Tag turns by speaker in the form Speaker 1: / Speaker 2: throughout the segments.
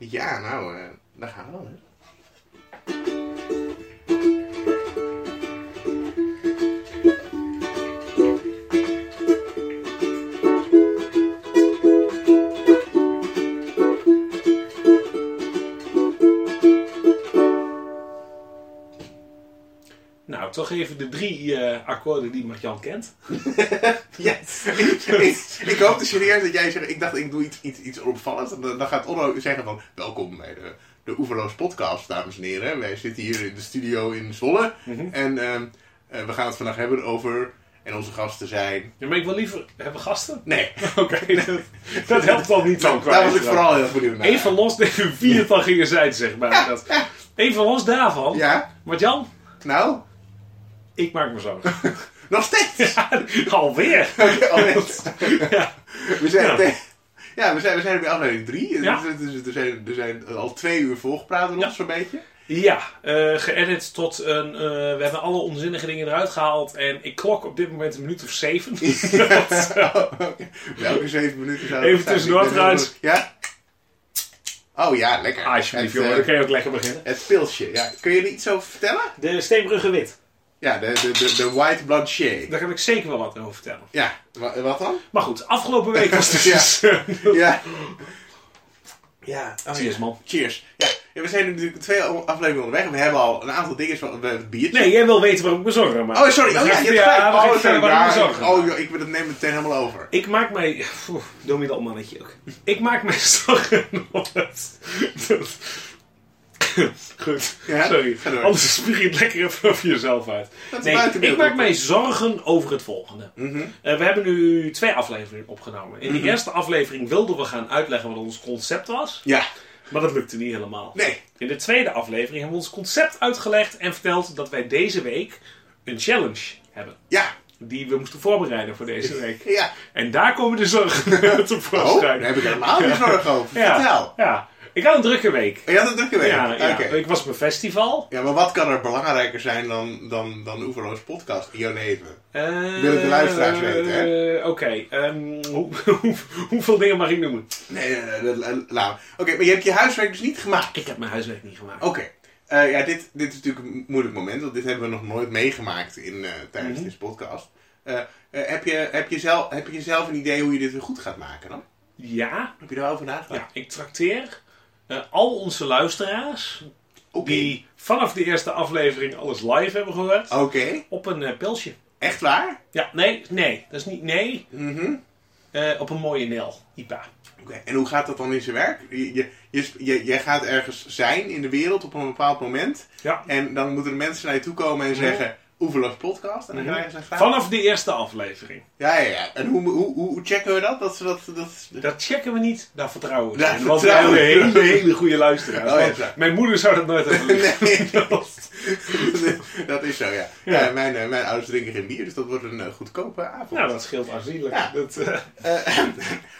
Speaker 1: Ja, nou, eh, daar gaan we dan. Hè.
Speaker 2: Nou, toch even de drie eh, akkoorden die Marjan kent.
Speaker 1: Ja, ik, ik hoopte serieus dat jij zegt, ik dacht ik doe iets, iets, iets onopvallends. En dan dan gaat Onno zeggen van, welkom bij de, de Oeverloos podcast, dames en heren. Wij zitten hier in de studio in Zwolle.
Speaker 2: Mhm.
Speaker 1: En ehm, eh, we gaan het vandaag hebben over, en onze gasten zijn...
Speaker 2: Ja, maar ik wil liever hebben gasten.
Speaker 1: Nee,
Speaker 2: Oké, dat, dat helpt al niet zo kwijt.
Speaker 1: daar was ik vooral heel benieuwd naar.
Speaker 2: Eén van los, even vier van gingen zijn, zeg maar. Dat, één van los daarvan.
Speaker 1: Ja,
Speaker 2: Marjan,
Speaker 1: nou,
Speaker 2: ik maak me zorgen.
Speaker 1: nog steeds.
Speaker 2: Alweer. Ja.
Speaker 1: Oh, We zijn,
Speaker 2: Ja.
Speaker 1: te- ja, we zijn, we zijn bij aflevering 3.
Speaker 2: Ja.
Speaker 1: Dus, er, zijn, er zijn al twee uur volgepraat rond,
Speaker 2: Ja.
Speaker 1: zo'n beetje.
Speaker 2: Ja, eh, geëdit tot een. eh, we hebben alle onzinnige dingen eruit gehaald. En ik klok op dit moment een minuut of zeven. Dat-
Speaker 1: Oké. Welke zeven minuten zouden
Speaker 2: Even
Speaker 1: het zijn?
Speaker 2: tussendoor
Speaker 1: Ik ben heel
Speaker 2: trouwens. Ah,
Speaker 1: benieuwd. Ja? Oh ja, lekker.
Speaker 2: Alsjeblieft,
Speaker 1: Het,
Speaker 2: jongen, dan
Speaker 1: eh,
Speaker 2: kun je ook lekker beginnen.
Speaker 1: Het pilsje, ja. Kun je er iets over vertellen?
Speaker 2: De Steenbrugge Wit.
Speaker 1: Ja, de, de, de, de White Blanchet.
Speaker 2: Daar kan ik zeker wel wat over vertellen.
Speaker 1: Ja, wa- wat dan?
Speaker 2: Maar goed, afgelopen week was het dus.
Speaker 1: Ja. Ja, oh, ja.
Speaker 2: Cheers, man.
Speaker 1: Cheers. Ja. Ja, we zijn natuurlijk twee afleveringen onderweg en we hebben al een aantal dingen zoals we hebben het biertje.
Speaker 2: Nee, jij wil weten waarom ik me zorgen maak.
Speaker 1: Oh, sorry. Oh, ja, je hebt
Speaker 2: Ja,
Speaker 1: gelijk.
Speaker 2: we gaan
Speaker 1: Oh,
Speaker 2: vertellen
Speaker 1: sorry.
Speaker 2: waarom ik me
Speaker 1: Ja,
Speaker 2: zorgen maak.
Speaker 1: oh, joh, ik ben het neem het meteen helemaal over.
Speaker 2: Ik maak mij. Pff, Dominee mannetje ook. Ik maak mij zorgen om het. dat- Goed,
Speaker 1: Ja,
Speaker 2: sorry.
Speaker 1: ga door.
Speaker 2: Anders spuug je het lekker even over jezelf uit.
Speaker 1: is
Speaker 2: Nee,
Speaker 1: buiten
Speaker 2: ik
Speaker 1: beeld. Mhm.
Speaker 2: maak mij zorgen over het volgende. Eh, we hebben nu twee afleveringen opgenomen. In de eerste aflevering wilden we gaan uitleggen wat ons concept was,
Speaker 1: Ja.
Speaker 2: maar dat lukte niet helemaal.
Speaker 1: Nee.
Speaker 2: In de tweede aflevering hebben we ons concept uitgelegd en verteld dat wij deze week een challenge hebben.
Speaker 1: Ja.
Speaker 2: Die we moesten voorbereiden voor deze week.
Speaker 1: Ja.
Speaker 2: En daar komen de zorgen te
Speaker 1: Oh,
Speaker 2: voorschijn.
Speaker 1: daar heb ik helemaal geen zorgen over.
Speaker 2: ja,
Speaker 1: Vertel. Oh,
Speaker 2: ja, ik had een drukke week.
Speaker 1: Je had een drukke week.
Speaker 2: Ja, ja.
Speaker 1: Oké.
Speaker 2: ik was op een festival.
Speaker 1: Ja, maar wat kan er belangrijker zijn dan, dan, dan Oeverloos podcast in jouw leven?
Speaker 2: Eh,
Speaker 1: Willen de luisteraars weten, hè?
Speaker 2: eh, Oké, ehm, hoe, hoe- hoeveel dingen mag ik noemen?
Speaker 1: Nee, nee, nee, nee, nee, laat maar. Oké, maar je hebt je huiswerk dus niet gemaakt.
Speaker 2: Ik heb mijn huiswerk niet gemaakt.
Speaker 1: Oké. Eh, ja, dit, dit is natuurlijk een moeilijk moment, want dit hebben we nog nooit meegemaakt in, eh, tijdens
Speaker 2: Mhm.
Speaker 1: deze podcast. Eh, eh, heb, je, heb, je zelf, heb je zelf een idee hoe je dit weer goed gaat maken dan?
Speaker 2: Ja,
Speaker 1: Heb je daarover nagedacht?
Speaker 2: ja, ik trakteer eh, al onze luisteraars
Speaker 1: Oké.
Speaker 2: die vanaf de eerste aflevering alles live hebben gehoord
Speaker 1: Oké.
Speaker 2: op een eh, pilsje.
Speaker 1: Echt waar?
Speaker 2: Ja, nee, nee, dat is niet nee.
Speaker 1: Mhm.
Speaker 2: Eh, op een mooie NL, IPA.
Speaker 1: Oké, en hoe gaat dat dan in zijn werk? Je, je, je, sp- je- jij gaat ergens zijn in de wereld op een bepaald moment.
Speaker 2: Ja.
Speaker 1: En dan moeten er mensen naar je toe komen en zeggen... Oeverloos podcast. En dan
Speaker 2: Mhm.
Speaker 1: krijgen ze een vraag.
Speaker 2: Vanaf de eerste aflevering.
Speaker 1: Ja, ja, ja. En hoe, hoe, hoe hoe checken we dat? Dat ze dat... dat...
Speaker 2: Dat checken we niet, daar vertrouwen we.
Speaker 1: Daar
Speaker 2: in, want we
Speaker 1: vertrouwen
Speaker 2: hebben
Speaker 1: we.
Speaker 2: hele, hele goede luisteraars.
Speaker 1: Oh, ja,
Speaker 2: Want
Speaker 1: ja.
Speaker 2: Mijn moeder zou dat nooit hebben
Speaker 1: Nee,
Speaker 2: doen.
Speaker 1: dat is zo, ja.
Speaker 2: Ja.
Speaker 1: Ja, mijn, eh, mijn ouders drinken geen bier, dus dat wordt een eh, goedkope avond.
Speaker 2: Nou, dat scheelt aanzienlijk.
Speaker 1: Ja.
Speaker 2: Dat, eh,
Speaker 1: Eh,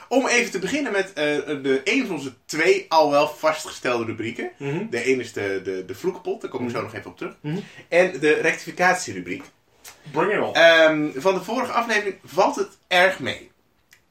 Speaker 1: om even te beginnen met eh, de, een van onze twee al wel vastgestelde rubrieken.
Speaker 2: mhm.
Speaker 1: De ene is de, de, de vloekpot, daar kom ik zo nog even op terug.
Speaker 2: Mhm.
Speaker 1: En de rectificatierubriek.
Speaker 2: Bring it on.
Speaker 1: Ehm, van de vorige aflevering valt het erg mee,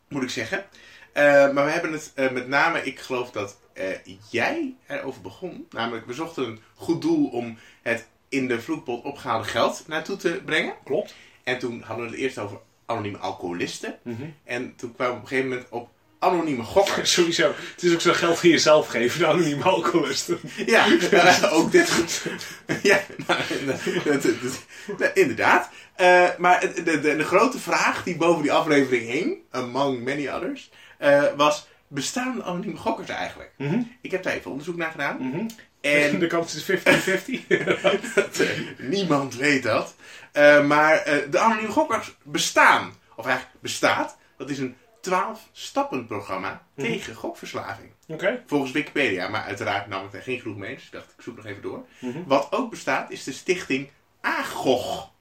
Speaker 1: moet ik zeggen. Eh, maar we hebben het eh, met name, ik geloof dat eh, jij erover begon. Namelijk, we zochten een goed doel om het in de vloekpot opgehaalde geld naartoe te brengen.
Speaker 2: Klopt.
Speaker 1: En toen hadden we het eerst over anonieme alcoholisten. En toen kwamen we op een gegeven moment op anonieme gokkers.
Speaker 2: Sowieso. Het is ook zo geld voor jezelf geven, de anonieme alcoholisten.
Speaker 1: Ja, eh, ook dit. ja, nou, dat- dat- dat- nou, inderdaad. Eh, maar het- de, de, de grote vraag die boven die aflevering hing, among many others, eh, was: bestaan anonieme gokkers eigenlijk? Ik heb daar even onderzoek naar gedaan.
Speaker 2: En
Speaker 1: En
Speaker 2: de kans is 50-50.
Speaker 1: eh, niemand weet dat. Eh, maar eh, de anonieme gokkers bestaan, of eigenlijk bestaat, dat is een 12-stappen-programma
Speaker 2: Mhm.
Speaker 1: tegen gokverslaving.
Speaker 2: Oké.
Speaker 1: Volgens Wikipedia, maar uiteraard nam ik daar geen genoeg mee, dus ik dacht, ik zoek nog even door.
Speaker 2: Mhm.
Speaker 1: Wat ook bestaat is de stichting AGOG.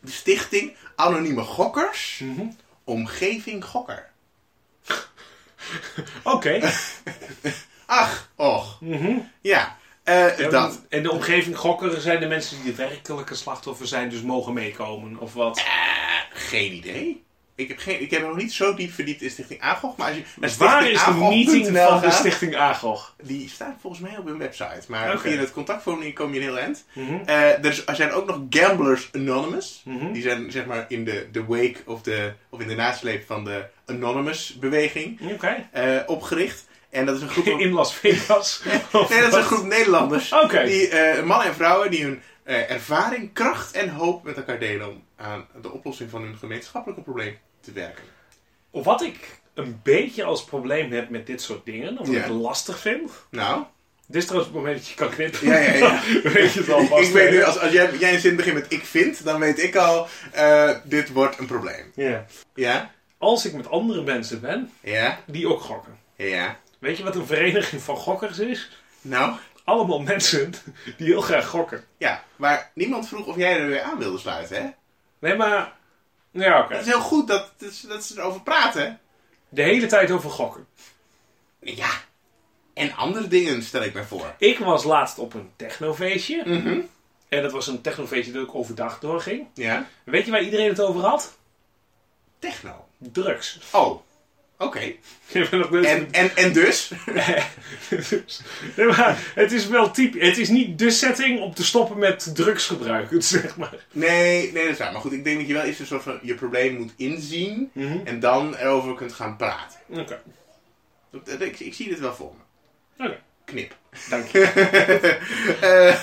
Speaker 1: De stichting Anonieme Gokkers,
Speaker 2: Mhm.
Speaker 1: Omgeving Gokker.
Speaker 2: Oké.
Speaker 1: Ach, och,
Speaker 2: Mhm.
Speaker 1: ja, eh,
Speaker 2: Ja,
Speaker 1: dat.
Speaker 2: En de omgeving gokkeren zijn de mensen die de werkelijke slachtoffer zijn, dus mogen meekomen of wat?
Speaker 1: Eh, geen idee. Ik heb, geen, ik heb me nog niet zo diep verdiept in Stichting AGOG. Maar als je naar
Speaker 2: Waar is de
Speaker 1: stichtingagog.nl
Speaker 2: meeting van de
Speaker 1: gaat,
Speaker 2: Stichting AGOG?
Speaker 1: Die staat volgens mij op hun website. Maar
Speaker 2: Oké.
Speaker 1: via het contactformulier kom je een heel eind. Eh, er is- er zijn ook nog Gamblers Anonymous.
Speaker 2: Mhm.
Speaker 1: Die zijn zeg maar in de, de wake of, de, of in de nasleep van de Anonymous-beweging
Speaker 2: Oké.
Speaker 1: eh, opgericht. En dat is een groep...
Speaker 2: In Las Vegas.
Speaker 1: Nee, dat is een groep Nederlanders.
Speaker 2: Oké.
Speaker 1: Die, eh, mannen en vrouwen die hun eh, ervaring, kracht en hoop met elkaar delen om aan de oplossing van hun gemeenschappelijke probleem te werken.
Speaker 2: Wat ik een beetje als probleem heb met dit soort dingen, omdat
Speaker 1: Ja.
Speaker 2: ik het lastig vind.
Speaker 1: Nou,
Speaker 2: Dit is trouwens het moment dat je kan knippen.
Speaker 1: ja, ja, ja.
Speaker 2: Weet je het al
Speaker 1: ik
Speaker 2: vast,
Speaker 1: weet
Speaker 2: hè?
Speaker 1: nu, als, als jij, jij een zin begint met ik vind, dan weet ik al, eh, dit wordt een probleem.
Speaker 2: Ja.
Speaker 1: Ja?
Speaker 2: Als ik met andere mensen ben
Speaker 1: Ja?
Speaker 2: die ook gokken.
Speaker 1: Ja?
Speaker 2: Weet je wat een vereniging van gokkers is?
Speaker 1: Nou,
Speaker 2: Allemaal mensen die heel graag gokken.
Speaker 1: ja. Maar niemand vroeg of jij er weer aan wilde sluiten, hè?
Speaker 2: Nee, maar. Ja, oké.
Speaker 1: Het is heel goed dat, dat, ze- dat ze erover praten.
Speaker 2: De hele tijd over gokken.
Speaker 1: Ja. En andere dingen stel ik mij voor.
Speaker 2: Ik was laatst op een technofeestje.
Speaker 1: Mhm.
Speaker 2: En dat was een technofeestje dat ook overdag doorging.
Speaker 1: Ja?
Speaker 2: Weet je waar iedereen het over had?
Speaker 1: Techno.
Speaker 2: Drugs.
Speaker 1: Oh, oké.
Speaker 2: Ik ben nog nooit-
Speaker 1: En, en, en dus?
Speaker 2: Nee, maar het is wel typisch. Het is niet de setting om te stoppen met drugsgebruik, zeg maar.
Speaker 1: Nee, nee, dat is waar. Maar goed, ik denk dat je wel eerst een soort van je probleem moet inzien en dan erover kunt gaan praten.
Speaker 2: Oké.
Speaker 1: Dat- dat- Ik, ik zie dit wel voor me.
Speaker 2: Oké.
Speaker 1: Knip.
Speaker 2: Dank je.
Speaker 1: Eh,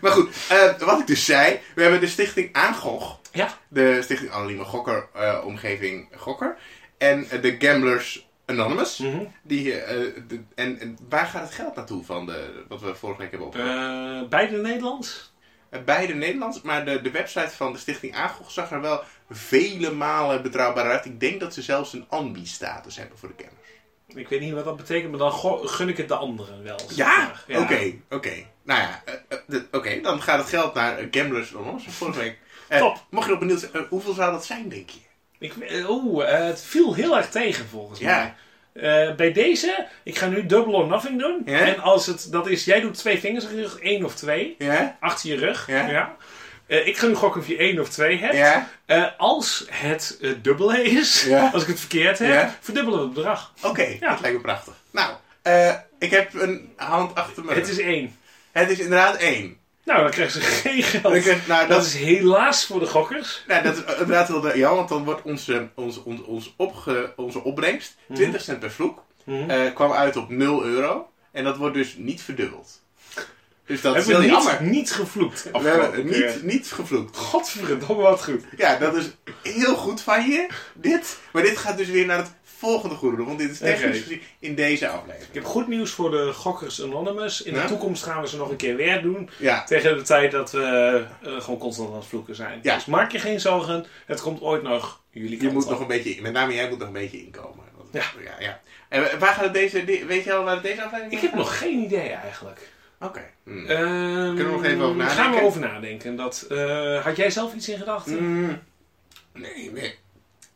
Speaker 1: maar goed, eh, wat ik dus zei, we hebben de stichting Aangog,
Speaker 2: Ja.
Speaker 1: de stichting Anonieme Gokker, eh, omgeving Gokker, en eh, de Gamblers Anonymous.
Speaker 2: Mhm.
Speaker 1: Die, eh, de- en, en waar gaat het geld naartoe van de, wat we vorige week hebben opgegeven?
Speaker 2: Eh, beide Nederlands?
Speaker 1: Eh, Beide Nederlands, maar de, de website van de Stichting AGOG zag er wel vele malen betrouwbaar uit. Ik denk dat ze zelfs een ambi-status hebben voor de kenners.
Speaker 2: Ik weet niet wat dat betekent, maar dan go- gun ik het de anderen wel. zeg maar.
Speaker 1: Oké, oké. Nou ja, eh, eh, de- oké, dan gaat het geld naar eh, Gamblers Anonymous van vorige week. Eh,
Speaker 2: Top.
Speaker 1: Mocht je nog benieuwd zijn, eh, hoeveel zou dat zijn, denk je?
Speaker 2: Ik, eh, oeh, eh, het viel heel erg tegen volgens
Speaker 1: Ja.
Speaker 2: mij. Eh, bij deze, ik ga nu double or nothing doen.
Speaker 1: Ja.
Speaker 2: En als het, dat is, jij doet twee vingers in je rug, één of twee.
Speaker 1: Ja?
Speaker 2: Achter je rug.
Speaker 1: Ja.
Speaker 2: Eh, ik ga nu gokken of je één of twee hebt.
Speaker 1: Ja?
Speaker 2: Eh, als het eh, dubbele is,
Speaker 1: Ja.
Speaker 2: als ik het verkeerd heb,
Speaker 1: Ja.
Speaker 2: verdubbelen we het bedrag.
Speaker 1: Oké,
Speaker 2: Ja.
Speaker 1: dat lijkt me prachtig. Nou, eh, ik heb een hand achter me.
Speaker 2: Het is één.
Speaker 1: het is inderdaad één.
Speaker 2: Nou, dan krijgen ze geen geld.
Speaker 1: Dan krijg- nou,
Speaker 2: Oh. dat,
Speaker 1: dat-
Speaker 2: is helaas voor de gokkers.
Speaker 1: Nou, dat is inderdaad wel de- ja, want dan wordt onze, onze, onze, onze, opge, onze opbrengst 20 cent per vloek.
Speaker 2: Mhm.
Speaker 1: eh, kwam uit op 0 euro. En dat wordt dus niet verdubbeld. Dus dat is
Speaker 2: hebben
Speaker 1: heel
Speaker 2: we niet,
Speaker 1: jammer.
Speaker 2: niet gevloekt.
Speaker 1: We hebben
Speaker 2: afgelopen
Speaker 1: niet,
Speaker 2: keer.
Speaker 1: niet gevloekt.
Speaker 2: Godverdomme, wat goed.
Speaker 1: Ja, dat is heel goed van je, dit. Maar dit gaat dus weer naar het volgende goede doel, want dit is technisch
Speaker 2: Oké.
Speaker 1: gezien in deze aflevering.
Speaker 2: Ik heb goed nieuws voor de Gokkers Anonymous. In
Speaker 1: Ja?
Speaker 2: de toekomst gaan we ze nog een keer weer doen.
Speaker 1: Ja,
Speaker 2: Tegen de tijd dat we eh, gewoon constant aan het vloeken zijn.
Speaker 1: Ja.
Speaker 2: Dus maak je geen zorgen. Het komt ooit nog jullie
Speaker 1: je
Speaker 2: kant
Speaker 1: moet
Speaker 2: op.
Speaker 1: nog een beetje, met name jij moet nog een beetje inkomen. Want-
Speaker 2: Ja.
Speaker 1: ja, ja. En waar gaat het deze, di- weet je al waar het deze aflevering
Speaker 2: Ik heb nog Eh, geen idee eigenlijk.
Speaker 1: Oké. Hmm.
Speaker 2: Kunnen
Speaker 1: we nog even over nadenken?
Speaker 2: Gaan we over nadenken. Dat, eh, had jij zelf iets in gedachten?
Speaker 1: Mm. Nee, nee.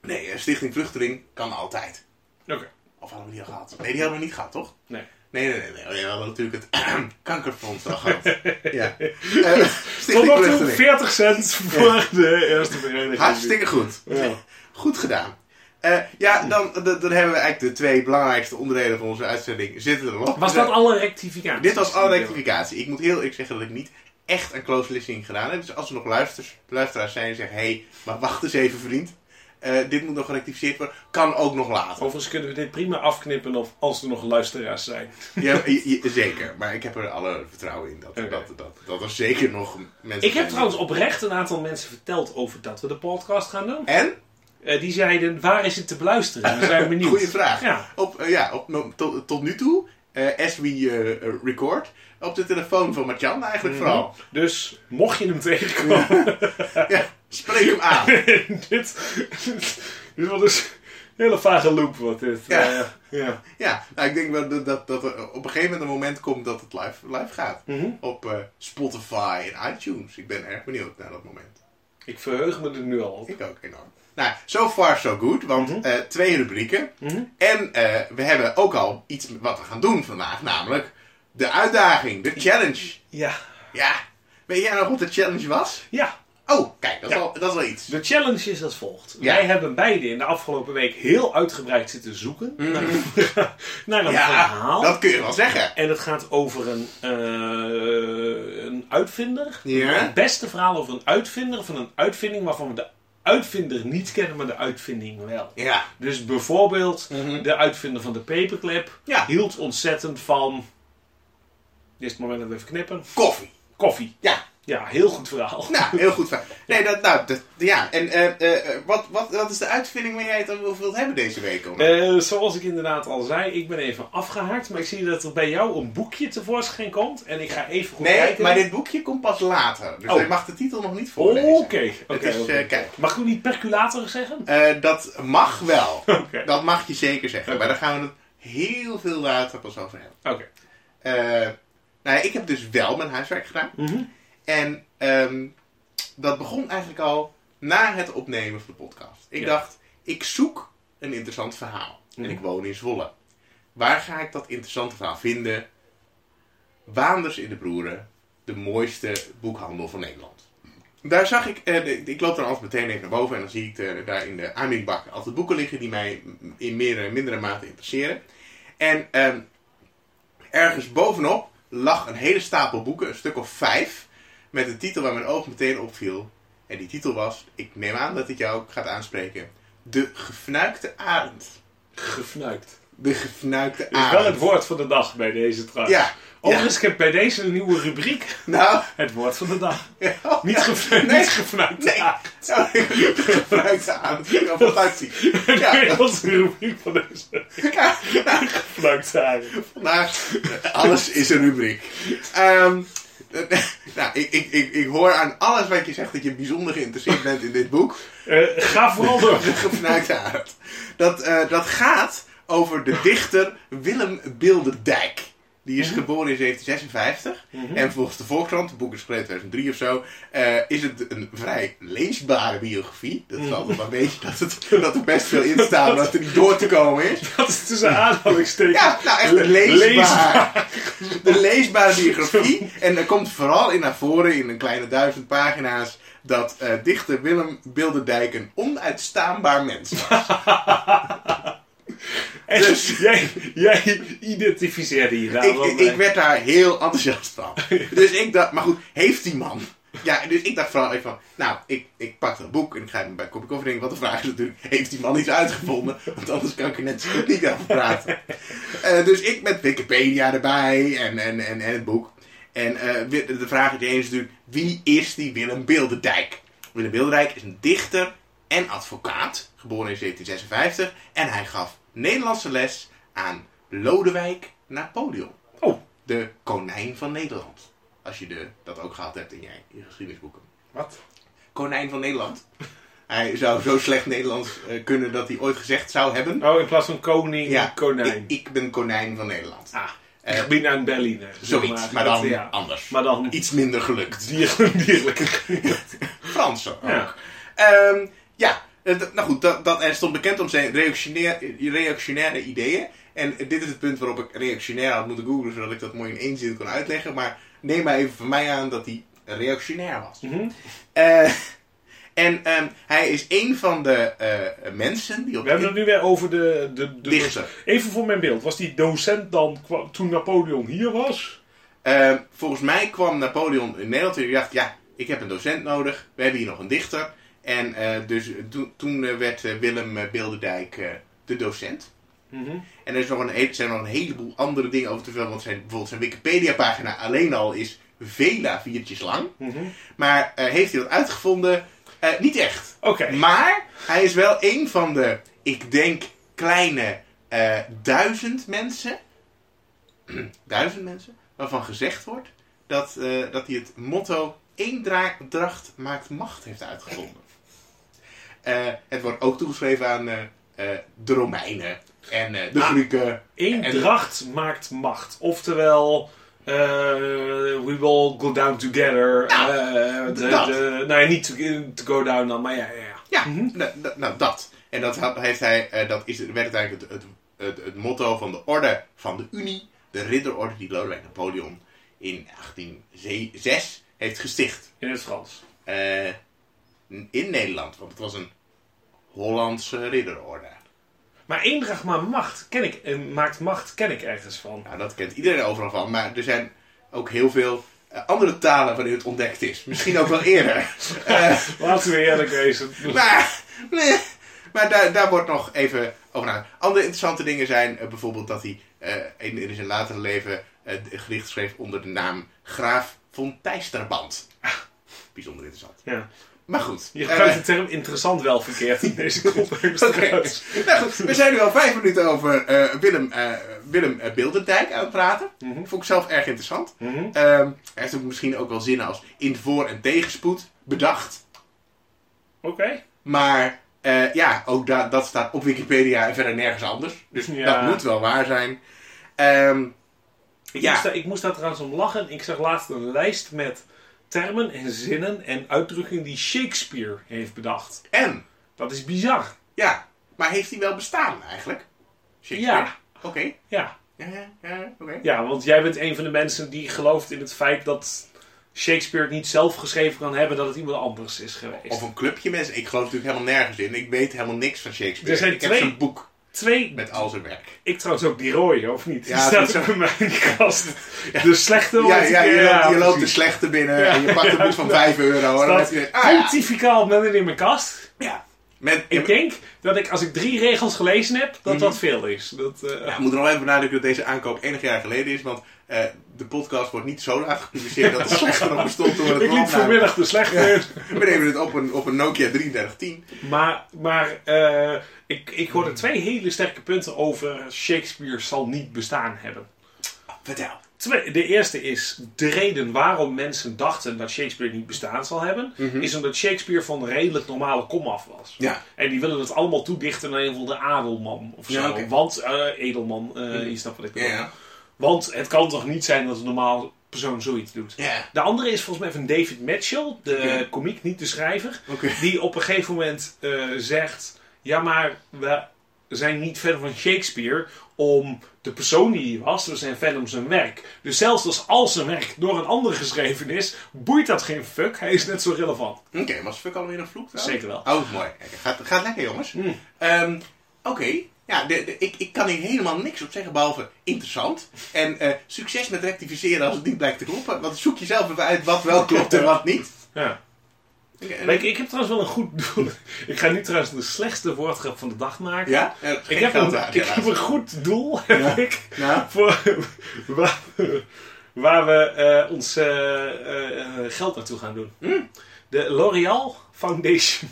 Speaker 1: Nee, eh, Stichting Vluchteling kan altijd.
Speaker 2: Oké.
Speaker 1: Of hadden we die al gehad? Nee, die hadden we niet gehad, toch?
Speaker 2: Nee.
Speaker 1: Nee, nee, nee. nee. Oh, We hadden natuurlijk het kankerfonds al gehad. ja. Eh,
Speaker 2: Tot
Speaker 1: Stichting
Speaker 2: nog toe
Speaker 1: Vluchteling.
Speaker 2: 40 cent voor de eerste vereniging.
Speaker 1: Hartstikke goed.
Speaker 2: Ja.
Speaker 1: Goed gedaan. Eh, ja, dan, dan dan hebben we eigenlijk de twee belangrijkste onderdelen van onze uitzending zitten er nog.
Speaker 2: Oh,
Speaker 1: Dus,
Speaker 2: Was dat alle rectificatie?
Speaker 1: Dit was alle rectificatie. Ik moet heel eerlijk zeggen dat ik niet echt een close listening gedaan heb. Dus als er nog luisters, luisteraars zijn die zeggen... Hé, hey, maar wacht eens even vriend. Eh, dit moet nog gerectificeerd worden. Kan ook nog later.
Speaker 2: Overigens kunnen we dit prima afknippen of als er nog luisteraars zijn.
Speaker 1: Ja, je- je- zeker. Maar ik heb er alle vertrouwen in dat,
Speaker 2: Oh. Oké.
Speaker 1: dat, dat, dat er zeker nog mensen
Speaker 2: Ik heb
Speaker 1: zijn die-
Speaker 2: trouwens oprecht een aantal mensen verteld over dat we de podcast gaan doen.
Speaker 1: En?
Speaker 2: Eh, die zeiden, waar is het te beluisteren? We zijn benieuwd.
Speaker 1: Goeie vraag.
Speaker 2: Ja.
Speaker 1: Op, eh, ja, op, no- tot, tot nu toe, eh, as we eh, eh, record, op de telefoon van Martjan eigenlijk
Speaker 2: Mhm.
Speaker 1: vooral.
Speaker 2: Dus mocht je hem tegenkomen,
Speaker 1: Ja, spreek hem aan.
Speaker 2: dit, dit was dus een hele vage loop wat dit.
Speaker 1: Ja.
Speaker 2: Eh, ja.
Speaker 1: Ja, nou, ik denk wel dat, dat, dat er op een gegeven moment een moment komt dat het live, live gaat.
Speaker 2: Mhm.
Speaker 1: Op eh, Spotify en iTunes. Ik ben erg benieuwd naar dat moment.
Speaker 2: Ik verheug me er nu al op.
Speaker 1: Ik ook enorm. Nou, so far so good, want eh, twee rubrieken.
Speaker 2: Mhm.
Speaker 1: En eh, we hebben ook al iets wat we gaan doen vandaag, namelijk de uitdaging, de challenge.
Speaker 2: Ja.
Speaker 1: Ja, weet jij nog wat de challenge was?
Speaker 2: Ja.
Speaker 1: Oh, kijk, dat, is
Speaker 2: Ja.
Speaker 1: wel, dat is wel iets.
Speaker 2: De challenge is als volgt.
Speaker 1: Ja.
Speaker 2: Wij hebben beide in de afgelopen week heel uitgebreid zitten zoeken naar, naar een
Speaker 1: Mhm. Ja,
Speaker 2: verhaal.
Speaker 1: dat kun je wel zeggen.
Speaker 2: En het gaat over een, eh, een uitvinder.
Speaker 1: Ja.
Speaker 2: Het beste verhaal over een uitvinder van een uitvinding waarvan we de uitvinder niet kennen, maar de uitvinding wel.
Speaker 1: Ja.
Speaker 2: Dus bijvoorbeeld
Speaker 1: Mhm.
Speaker 2: de uitvinder van de paperclip
Speaker 1: Ja.
Speaker 2: hield ontzettend van. Dit is het moment dat we even knippen.
Speaker 1: Koffie.
Speaker 2: Koffie.
Speaker 1: Ja.
Speaker 2: Ja, heel goed verhaal.
Speaker 1: Nou, heel goed. verhaal. Nee, dat, nou, dat- ja. En eh, eh, eh, wat, wat, wat is de uitvinding waar jij het over wilt hebben deze week? Om?
Speaker 2: Eh, zoals ik inderdaad al zei, ik ben even afgehaakt. Maar ik zie dat er bij jou een boekje tevoorschijn komt. En ik ga even goed
Speaker 1: nee,
Speaker 2: kijken.
Speaker 1: maar dit boekje komt pas later. Dus
Speaker 2: Oh.
Speaker 1: hij mag de titel nog niet
Speaker 2: Oké,
Speaker 1: voorlezen.
Speaker 2: oké,
Speaker 1: Het is,
Speaker 2: oké.
Speaker 1: eh, kijk.
Speaker 2: Mag ik ook niet perculator zeggen?
Speaker 1: Eh, dat mag wel.
Speaker 2: Oké.
Speaker 1: Dat mag je zeker zeggen.
Speaker 2: Oké.
Speaker 1: Maar daar gaan we het heel veel later pas over hebben.
Speaker 2: Oké.
Speaker 1: Eh, nou ja, ik heb dus wel mijn huiswerk gedaan.
Speaker 2: Mhm.
Speaker 1: En ehm, dat begon eigenlijk al na het opnemen van de podcast. Ik
Speaker 2: Ja.
Speaker 1: dacht, ik zoek een interessant verhaal.
Speaker 2: Mhm.
Speaker 1: En ik woon in Zwolle. Waar ga ik dat interessante verhaal vinden? Waanders in de Broeren, de mooiste boekhandel van Nederland. Daar zag ik, eh, de- ik loop dan altijd meteen even naar boven en dan zie ik eh, daar in de aanbiedbak altijd boeken liggen die mij in meer en mindere mate interesseren. En ehm, ergens bovenop lag een hele stapel boeken, een stuk of vijf, met een titel waar mijn oog meteen opviel. En die titel was, ik neem aan dat ik jou ook gaat aanspreken, De Gefnuikte Arend.
Speaker 2: Gefnuikt.
Speaker 1: De Gefnuikte
Speaker 2: Is wel het
Speaker 1: Arend.
Speaker 2: woord van de dag bij deze trouwens.
Speaker 1: Ja, ja.
Speaker 2: Overigens, ik heb bij deze een nieuwe rubriek.
Speaker 1: Nou,
Speaker 2: Het woord van de dag.
Speaker 1: ja.
Speaker 2: Niet, gefnuikt.
Speaker 1: Nee.
Speaker 2: niet gefnuikt.
Speaker 1: Nee.
Speaker 2: Ja.
Speaker 1: Nou, De Gefnuikte Arend. Ik wel fantastisch. Ja.
Speaker 2: Dat is onze rubriek van deze.
Speaker 1: Ja, nou,
Speaker 2: Gefnuikt zijn.
Speaker 1: vandaag, alles is een rubriek. Ehm, eh, nou, ik, ik, ik, ik hoor aan alles wat je zegt dat je bijzonder geïnteresseerd bent in dit boek.
Speaker 2: Eh, ga vooral door.
Speaker 1: De gefnuikte aard. Dat, eh, dat gaat over de dichter Willem Bilderdijk. Die is geboren in 1756. En volgens de Volkskrant, het boek is geschreven in 2003 of zo, eh, is het een vrij leesbare biografie. Dat is altijd wel een beetje dat, het, dat er best veel in staat, maar dat er niet door te komen is.
Speaker 2: Dat is tussen aanhalingstekens.
Speaker 1: Ja, nou echt een leesbaar. De leesbare biografie. En er komt vooral in naar voren, in een kleine duizend pagina's, dat eh, dichter Willem Bilderdijk een onuitstaanbaar mens was.
Speaker 2: En
Speaker 1: Dus-
Speaker 2: jij, jij identificeerde je daar
Speaker 1: ik,
Speaker 2: wel
Speaker 1: ik,
Speaker 2: mee.
Speaker 1: ik werd daar heel enthousiast van. dus ik dacht, maar goed, heeft die man? Ja, dus ik dacht vooral even van, nou, ik, ik pak dat boek en ik ga even bij een kopje koffie drinken. Want de vraag is natuurlijk, heeft die man iets uitgevonden? Want anders kan ik er net zo goed niet over praten. Eh, dus ik met Wikipedia erbij en, en, en, en het boek. En eh, wi- de vraag is eens natuurlijk, wie is die Willem Bilderdijk? Willem Bilderdijk is een dichter en advocaat, geboren in 1756. En hij gaf Nederlandse les aan Lodewijk Napoleon
Speaker 2: Oh,
Speaker 1: de konijn van Nederland. Als je de, dat ook gehad hebt in je, je geschiedenisboeken.
Speaker 2: wat?
Speaker 1: Konijn van Nederland. Hij zou zo slecht Nederlands eh, kunnen dat hij ooit gezegd zou hebben.
Speaker 2: Oh, in plaats van koning,
Speaker 1: Ja,
Speaker 2: konijn.
Speaker 1: Ik, ik ben konijn van Nederland.
Speaker 2: ah,
Speaker 1: Eh,
Speaker 2: ik ben aan Berliner. zeg
Speaker 1: Zoiets, maar dan
Speaker 2: Dat, ja.
Speaker 1: anders.
Speaker 2: Maar dan
Speaker 1: Iets minder gelukt.
Speaker 2: dier, dierlijk.
Speaker 1: Fransen ook.
Speaker 2: Ja.
Speaker 1: Ja, ja eh, d- nou goed, dat, dat, hij stond bekend om zijn reactionaire, reactionaire ideeën. En dit is het punt waarop ik reactionair had moeten googlen, zodat ik dat mooi in één zin kon uitleggen. Maar neem maar even van mij aan dat hij reactionair was.
Speaker 2: Mhm.
Speaker 1: Eh, en ehm, hij is een van de eh, mensen die op
Speaker 2: We hebben het nu weer over de... de, de
Speaker 1: dichter.
Speaker 2: Even voor mijn beeld. Was die docent dan kwa- toen Napoleon hier was?
Speaker 1: Ehm, volgens mij kwam Napoleon in Nederland en die dacht, ja, ik heb een docent nodig. We hebben hier nog een dichter. En eh, dus toen- toen eh, werd eh, Willem eh, Bilderdijk eh, de docent.
Speaker 2: Mhm.
Speaker 1: En er, is nog een, he- zijn nog een heleboel andere dingen over te vertellen. Want zijn, bijvoorbeeld zijn Wikipedia-pagina alleen al is vele viertjes lang.
Speaker 2: Mhm.
Speaker 1: Maar eh, heeft hij dat uitgevonden? Eh, niet echt.
Speaker 2: Oké.
Speaker 1: Maar hij is wel een van de, ik denk, kleine eh, duizend mensen. duizend mensen. Waarvan gezegd wordt dat, eh, dat hij het motto één dra- dracht maakt macht heeft uitgevonden. Eh, het wordt ook toegeschreven aan eh, eh, de Romeinen en eh, de
Speaker 2: Ah.
Speaker 1: Grieken.
Speaker 2: Eén
Speaker 1: En-
Speaker 2: dracht maakt macht. Oftewel, eh, we will go down together.
Speaker 1: Nou,
Speaker 2: Eh, de-
Speaker 1: dat.
Speaker 2: de- nee, niet to, to go down dan, maar ja, ja. ja.
Speaker 1: Ja,
Speaker 2: Mhm.
Speaker 1: nou, nou, nou, dat. En dat had- heeft hij, eh, dat is, werd het eigenlijk het, het, het, het motto van de orde van de Unie, de ridderorde die Lodewijk Napoleon in 1806 heeft gesticht.
Speaker 2: In het Frans.
Speaker 1: Eh, in Nederland. Want het was een Hollandse ridderorde.
Speaker 2: Maar eendracht maar macht ken ik, eh, maakt macht ken ik ergens van.
Speaker 1: Nou, dat kent iedereen overal van. Maar er zijn ook heel veel eh, andere talen waarin het ontdekt is. Misschien ook wel eerder. Eh,
Speaker 2: Laten we eerlijk wezen.
Speaker 1: maar nee, maar daar, daar wordt nog even over na. Andere interessante dingen zijn eh, bijvoorbeeld dat hij eh, in, in zijn latere leven eh, een gedicht schreef onder de naam Graaf von Teisterband. Ah, bijzonder interessant.
Speaker 2: Ja.
Speaker 1: Maar goed.
Speaker 2: Je
Speaker 1: eh,
Speaker 2: gebruikt de term interessant wel verkeerd in deze context.
Speaker 1: Oké.
Speaker 2: trouwens.
Speaker 1: Nou goed, we zijn nu al vijf minuten over eh, Willem, eh, Willem eh, Bilderdijk aan het praten.
Speaker 2: Mhm.
Speaker 1: Vond ik zelf erg interessant.
Speaker 2: Mhm.
Speaker 1: Ehm, hij heeft ook misschien ook wel zinnen als in voor- en tegenspoed bedacht.
Speaker 2: Oké.
Speaker 1: Maar eh, ja, ook da- dat staat op Wikipedia en verder nergens anders. Dus
Speaker 2: Ja.
Speaker 1: dat moet wel waar zijn. Ehm,
Speaker 2: Ik
Speaker 1: Ja.
Speaker 2: moest daar- Ik moest daar trouwens om lachen. Ik zag laatst een lijst met termen en zinnen en uitdrukkingen die Shakespeare heeft bedacht.
Speaker 1: en,
Speaker 2: Dat is bizar.
Speaker 1: ja, maar heeft hij wel bestaan eigenlijk? Shakespeare?
Speaker 2: Ja.
Speaker 1: Oké.
Speaker 2: Ja.
Speaker 1: Ja, ja, ja, oké.
Speaker 2: ja, want jij bent een van de mensen die gelooft in het feit dat Shakespeare het niet zelf geschreven kan hebben, dat het iemand anders is geweest.
Speaker 1: Of een clubje mensen. Ik geloof natuurlijk helemaal nergens in. Ik weet helemaal niks van Shakespeare.
Speaker 2: Er zijn
Speaker 1: ik
Speaker 2: twee-
Speaker 1: heb zijn boek
Speaker 2: Twee,
Speaker 1: met al zijn werk.
Speaker 2: ik trouwens ook die rode, of niet?
Speaker 1: Ja,
Speaker 2: Ja, die staat
Speaker 1: dat
Speaker 2: ook bij mij in de kast. De slechte
Speaker 1: Ja,
Speaker 2: wordt-
Speaker 1: ja, je, loopt, je loopt de
Speaker 2: precies.
Speaker 1: slechte binnen en je pakt een boek van 5 euro. En dan heb
Speaker 2: Staat
Speaker 1: je, ah, ja.
Speaker 2: pontificaal met het in mijn kast.
Speaker 1: Ja. Mhm. Met,
Speaker 2: Ik denk dat ik als ik drie regels gelezen heb, dat dat veel is. Dat, eh,
Speaker 1: Ja, ik moet er nog even benadrukken dat deze aankoop enig jaar geleden is, want eh, de podcast wordt niet zo laag gepubliceerd dat het slechter nog bestond toen we het
Speaker 2: ik liep
Speaker 1: opnamen.
Speaker 2: vanmiddag de slechte.
Speaker 1: We nemen het op een, op een Nokia 3310.
Speaker 2: Maar, maar eh, ik, ik hoorde twee hele sterke punten over Shakespeare zal niet bestaan hebben. Ah,
Speaker 1: Vertel.
Speaker 2: Twee, de eerste is de reden waarom mensen dachten dat Shakespeare niet bestaan zal hebben,
Speaker 1: Mhm.
Speaker 2: is omdat Shakespeare van een redelijk normale komaf was.
Speaker 1: Ja.
Speaker 2: En die willen het allemaal toedichten aan een van de adelman of zo.
Speaker 1: Ja, oké. Mhm.
Speaker 2: Want, eh, edelman, eh je snapt wat ik
Speaker 1: Ja,
Speaker 2: bedoel.
Speaker 1: ja.
Speaker 2: Want het kan toch niet zijn dat een normaal persoon zoiets doet.
Speaker 1: Ja.
Speaker 2: De andere is volgens mij van David Mitchell, de
Speaker 1: Oké.
Speaker 2: komiek, niet de schrijver.
Speaker 1: Oké.
Speaker 2: Die op een gegeven moment eh, zegt: Ja, maar we zijn niet fan van Shakespeare om de persoon die hij was. We zijn fan om zijn werk. Dus zelfs als al zijn werk door een ander geschreven is, boeit dat geen fuck. Hij is net zo relevant.
Speaker 1: Oké, was Fuck alweer een vloek trouwens?
Speaker 2: Zeker wel. Mm.
Speaker 1: Oh, mooi. Kijk, Gaat, gaat lekker, jongens. Ehm, Oké. Ja, de, de- ik, ik kan hier helemaal niks op zeggen, behalve interessant. En eh, succes met rectificeren als het niet blijkt te kloppen. Want zoek jezelf even uit wat wel klopt en wat niet.
Speaker 2: Ja.
Speaker 1: Oké, en-
Speaker 2: Maar ik, ik heb trouwens wel een goed doel. Ik ga nu trouwens de slechtste woordgrap van de dag maken.
Speaker 1: Ja? Eh, geen
Speaker 2: Ik heb,
Speaker 1: geld
Speaker 2: een,
Speaker 1: aan,
Speaker 2: ik
Speaker 1: helaas.
Speaker 2: heb een goed doel, heb
Speaker 1: Ja.
Speaker 2: ik.
Speaker 1: Nou?
Speaker 2: Voor, waar, waar we eh, ons eh, eh, eh, geld naartoe gaan doen. De L'Oreal Foundation.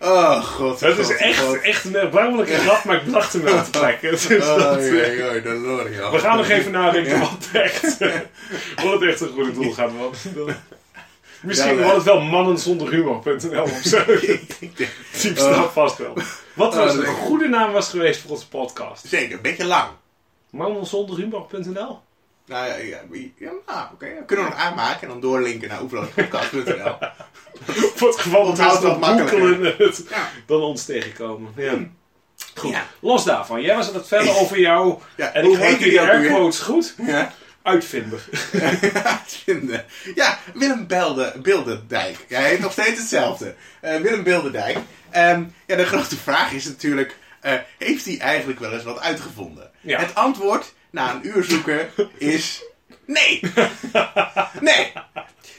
Speaker 1: Oh, god.
Speaker 2: Dat is
Speaker 1: god, god.
Speaker 2: echt, echt een erbarmelijke grap, maar ik dacht hem wel te plekken. Dus dat,
Speaker 1: Oei, oei, oei, de L'Oreal.
Speaker 2: we gaan nog even nadenken wat echt, wat echt een goed doel gaat worden. Misschien
Speaker 1: Ja, maar-
Speaker 2: wordt het wel mannenzonderhumor.nl of zo.
Speaker 1: Ik denk-
Speaker 2: Die bestaat vast wel. Wat
Speaker 1: Oh,
Speaker 2: was
Speaker 1: dat
Speaker 2: een
Speaker 1: denk ik.
Speaker 2: goede naam was geweest voor onze podcast?
Speaker 1: Zeker, een beetje lang.
Speaker 2: Mannenzonderhumor.nl?
Speaker 1: Nou ja, ja, ja, nou, oké. ja. Kunnen we nog aanmaken en dan doorlinken naar oefenlospodcast.nl.
Speaker 2: Voor het geval dat
Speaker 1: Onthoud
Speaker 2: mensen
Speaker 1: dat
Speaker 2: dat boekelen
Speaker 1: makkelijker.
Speaker 2: het
Speaker 1: Ja. Hmm.
Speaker 2: dan ons tegenkomen. Ja. Goed,
Speaker 1: Ja.
Speaker 2: los daarvan. Jij was het het verder over jou.
Speaker 1: Ja,
Speaker 2: en
Speaker 1: hoe
Speaker 2: ik hoorde
Speaker 1: heet
Speaker 2: die
Speaker 1: die ook
Speaker 2: air
Speaker 1: weer?
Speaker 2: quotes goed.
Speaker 1: Ja.
Speaker 2: Uitvinder.
Speaker 1: Vinden. ja, Willem Belde, Bilderdijk. Ja, hij heet nog steeds hetzelfde. Eh, Willem Bilderdijk. Ehm, ja, de grote vraag is natuurlijk... eh, heeft hij eigenlijk wel eens wat uitgevonden?
Speaker 2: Ja.
Speaker 1: Het antwoord na een uur zoeken is... Nee! Nee!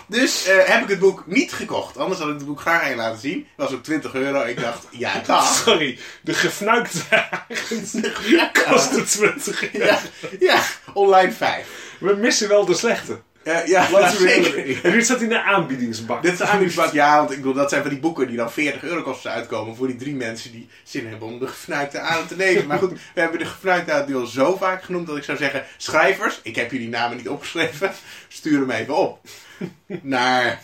Speaker 1: Dus eh, heb ik het boek niet gekocht. Anders had ik het boek graag aan je laten zien. Het was ook 20 euro. Ik dacht, ja, dag.
Speaker 2: Sorry, de gefnuikte wagens kostte 20 euro.
Speaker 1: Ja, ja online 5.
Speaker 2: We missen wel de slechte.
Speaker 1: Eh, ja,
Speaker 2: Laten we
Speaker 1: zeker.
Speaker 2: eerlijk- En dit staat in de aanbiedingsbak.
Speaker 1: Dit is aanbiedingsbak, ja, want ik bedoel, dat zijn van die boeken die dan 40 euro kosten uitkomen voor die drie mensen die zin hebben om de gefnuikte aan te lezen. Maar goed, we hebben de gefnuikte aan nu al zo vaak genoemd dat ik zou zeggen, schrijvers, ik heb jullie namen niet opgeschreven, stuur hem even op. Naar,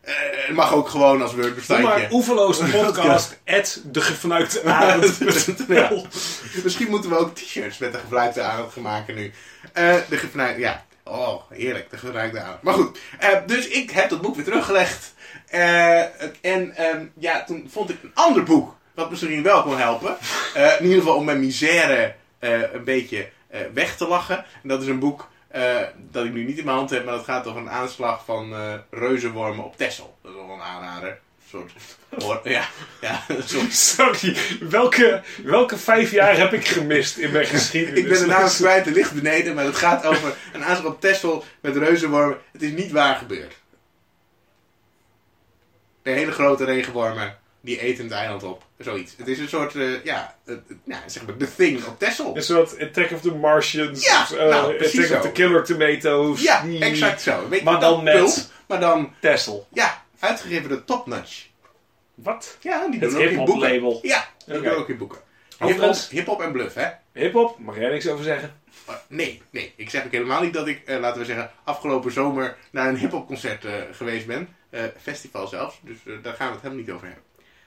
Speaker 1: eh, het mag ook gewoon als
Speaker 2: Doe
Speaker 1: Word-bestandje.
Speaker 2: maar oeverloos de podcast at de gefnuikte avond.nl.
Speaker 1: Misschien moeten we ook t-shirts met de gefnuikte aandacht gaan maken nu. Eh, de gefnuikte, ja. Oh, heerlijk, de gefnuikte aandacht. Maar goed, eh, dus ik heb dat boek weer teruggelegd. Eh, en ehm, ja, toen vond ik een ander boek, wat misschien wel kon helpen. Eh, in ieder geval om mijn misère eh, een beetje eh, weg te lachen. En dat is een boek eh, dat ik nu niet in mijn hand heb, maar dat gaat over een aanslag van eh, reuzenwormen op Texel. Dat is wel een aanrader. Een soort. hoor- ja, ja, een soort
Speaker 2: Sorry, welke, welke vijf jaar heb ik gemist in mijn geschiedenis?
Speaker 1: Ik ben de naam kwijt, er ligt beneden, maar het gaat over een aanslag op Texel met reuzenwormen. Het is niet waar gebeurd. De hele grote regenwormen, die eten het eiland op. Zoiets. Het is een soort, eh, ja, eh, eh, nou, zeg maar, The Thing op Texel.
Speaker 2: Een soort Attack of the Martians.
Speaker 1: Ja,
Speaker 2: of, eh,
Speaker 1: nou, precies
Speaker 2: Attack of
Speaker 1: zo.
Speaker 2: the Killer Tomatoes.
Speaker 1: Ja,
Speaker 2: die-
Speaker 1: exact zo. Weet je,
Speaker 2: Maar dan
Speaker 1: dat
Speaker 2: met-
Speaker 1: pulp, maar dan,
Speaker 2: Texel.
Speaker 1: ja, uitgegeven door Top Notch.
Speaker 2: Wat?
Speaker 1: Ja, die
Speaker 2: Het
Speaker 1: doen ook in
Speaker 2: hip-hop
Speaker 1: boeken.
Speaker 2: label.
Speaker 1: Ja, die
Speaker 2: Oké.
Speaker 1: doen ook in boeken. Hip-hop
Speaker 2: Overigens-
Speaker 1: hip-hop en bluff, hè?
Speaker 2: Hip-hop? Mag jij niks over zeggen?
Speaker 1: Uh, Nee, nee. Ik zeg ook helemaal niet dat ik, eh, laten we zeggen, afgelopen zomer naar een hip-hop concert geweest ben. Eh, festival zelfs. Dus eh, daar gaan we het helemaal niet over hebben.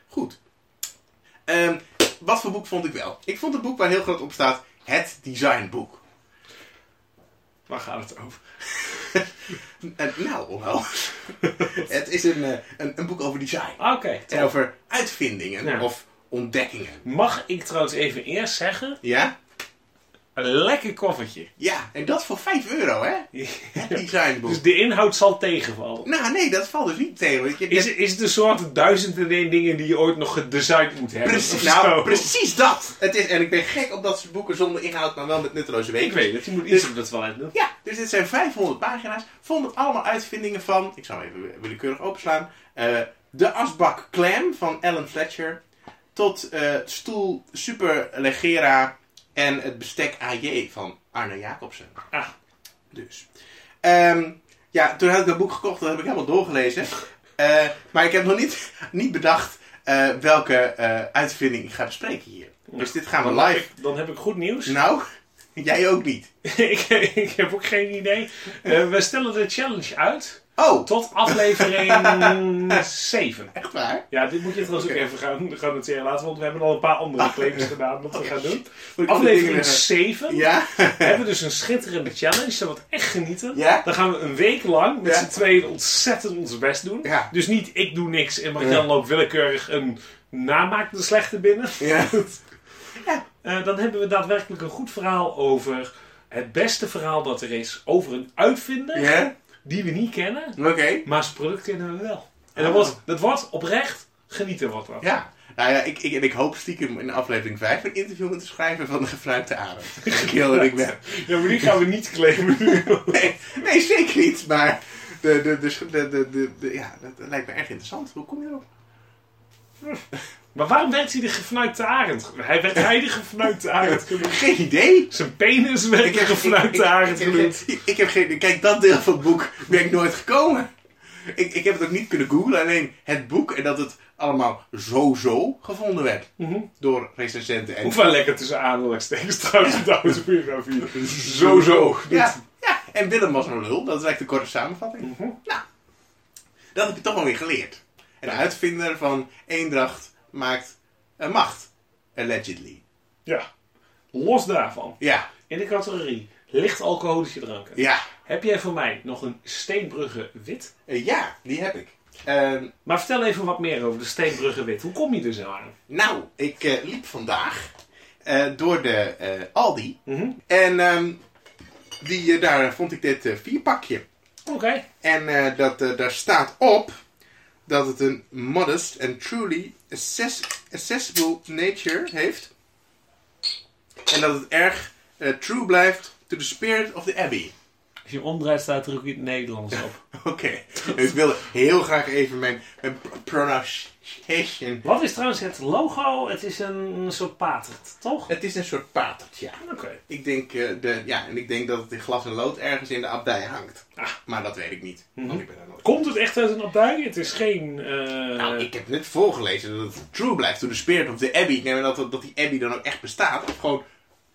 Speaker 1: Goed. Ehm, wat voor boek vond ik wel? Ik vond het boek waar heel groot op staat: Het Designboek.
Speaker 2: Waar gaat het over?
Speaker 1: Eh, nou, wel. het is een, eh, een, een boek over design.
Speaker 2: Ah, Oké. top.
Speaker 1: En over uitvindingen
Speaker 2: Ja.
Speaker 1: of ontdekkingen.
Speaker 2: Mag ik trouwens even eerst zeggen?
Speaker 1: Ja?
Speaker 2: Een lekker koffertje.
Speaker 1: Ja, en dat voor 5 euro, hè? Het Designboek.
Speaker 2: Dus de inhoud zal tegenvallen.
Speaker 1: Nou, nee, dat valt dus niet tegen. want je-
Speaker 2: Is, is het een soort duizend en één dingen die je ooit nog gedesigned moet hebben?
Speaker 1: Precies,
Speaker 2: of
Speaker 1: nou,
Speaker 2: zo?
Speaker 1: precies dat. Het is, en ik ben gek op dat soort boeken zonder inhoud, maar wel met nutteloze
Speaker 2: Ik
Speaker 1: weken.
Speaker 2: weet het, je moet iets op dat toilet doen.
Speaker 1: Ja, dus dit zijn 500 pagina's. Vol met allemaal uitvindingen van. Ik zal hem even willekeurig openslaan. eh, de asbak Clam van Alan Fletcher. Tot eh, stoel Super Legera. En het bestek AJ van Arno Jacobsen.
Speaker 2: Ah.
Speaker 1: Dus. Ehm, ja, toen had ik dat boek gekocht, dat heb ik helemaal doorgelezen. Eh, maar ik heb nog niet, niet bedacht eh, welke eh, uitvinding ik ga bespreken hier. Dus dit gaan we
Speaker 2: Dan heb
Speaker 1: live.
Speaker 2: ik- Dan heb ik goed nieuws.
Speaker 1: Nou, jij ook niet.
Speaker 2: ik, ik heb ook geen idee. Eh, we stellen de challenge uit
Speaker 1: Oh,
Speaker 2: tot aflevering 7.
Speaker 1: echt waar?
Speaker 2: Ja, dit moet je trouwens
Speaker 1: Oké.
Speaker 2: ook even gaan, gaan noteren later, want we hebben al een paar andere claims gedaan wat we gaan doen.
Speaker 1: Moet ik dingen-
Speaker 2: Aflevering 7
Speaker 1: Ja?
Speaker 2: hebben we dus een schitterende challenge, dat wordt echt genieten.
Speaker 1: Ja?
Speaker 2: Dan gaan we een week lang met
Speaker 1: Ja.
Speaker 2: z'n tweeën ontzettend ons best doen.
Speaker 1: Ja.
Speaker 2: Dus niet ik doe niks en Marjan loopt willekeurig een namaakte slechte binnen.
Speaker 1: Ja.
Speaker 2: Eh, dan hebben we daadwerkelijk een goed verhaal over het beste verhaal dat er is over een uitvinder
Speaker 1: Ja?
Speaker 2: die we niet kennen,
Speaker 1: Oké.
Speaker 2: maar zijn product kennen we wel. En
Speaker 1: Ah.
Speaker 2: dat wordt, dat wordt oprecht genieten wordt dat.
Speaker 1: Ja. Nou ja, ik, ik, en ik hoop stiekem in aflevering 5 een interview met de schrijver van de gefruimte adem. Ik heel dat ik ben.
Speaker 2: Ja, maar die gaan we niet claimen nu.
Speaker 1: Nee, nee, zeker niet. Maar de, de, de, de, de, de- de- ja, dat lijkt me erg interessant. Hoe kom je erop?
Speaker 2: Maar waarom werd hij de gefnuikte arend? Hij werd hij de gefnuikte arend genoemd.
Speaker 1: Geen idee.
Speaker 2: Zijn penis werd de
Speaker 1: ik- ik-
Speaker 2: gefnuikte arend
Speaker 1: ik-
Speaker 2: genoemd.
Speaker 1: ik- ik heb geen. Kijk, dat deel van het boek ben ik nooit gekomen. Ik, ik heb het ook niet kunnen googlen, alleen het boek en dat het allemaal zo-zo gevonden werd
Speaker 2: Mhm.
Speaker 1: door recensenten. En
Speaker 2: Ook wel lekker tussen aanhalingstekens trouwens, de autobiografie. Zo, zo.
Speaker 1: Ja, ja, en Willem was een lul. Dat is eigenlijk de korte samenvatting. Nou, dat heb je toch wel weer geleerd. En de uitvinder van Eendracht maakt eh, macht. Allegedly.
Speaker 2: Ja. Los daarvan,
Speaker 1: Ja,
Speaker 2: in de categorie licht alcoholische dranken.
Speaker 1: ja,
Speaker 2: Heb jij voor mij nog een Steenbrugge wit?
Speaker 1: Eh, ja, die heb ik. Ehm,
Speaker 2: Maar vertel even wat meer over de Steenbrugge wit. Hoe kom je er zo aan?
Speaker 1: nou, ik eh, liep vandaag eh, door de eh, Aldi. En ehm, die, eh, daar vond ik dit eh, vierpakje.
Speaker 2: Oké.
Speaker 1: En eh, dat, eh, daar staat op dat het een modest and truly access- accessible nature heeft. En dat het erg eh, true blijft to the spirit of the abbey.
Speaker 2: Als je hem omdraait staat er ook in het Nederlands op.
Speaker 1: Oké, ik wilde heel graag even mijn, mijn pr- pronunciation.
Speaker 2: Wat is trouwens het logo? Het is een soort patert, toch?
Speaker 1: Het is een soort patert, ja.
Speaker 2: Oké.
Speaker 1: Ik denk, eh, de, ja, en ik denk dat het in glas en lood ergens in de abdij hangt.
Speaker 2: Ah.
Speaker 1: Maar dat weet ik niet, want ik ben daar nooit.
Speaker 2: Komt het echt uit een abdij? Het is geen... eh,
Speaker 1: Nou, ik heb net voorgelezen dat het true blijft to the spirit of the abbey. Ik neem aan dat, dat die abbey dan ook echt bestaat. Of gewoon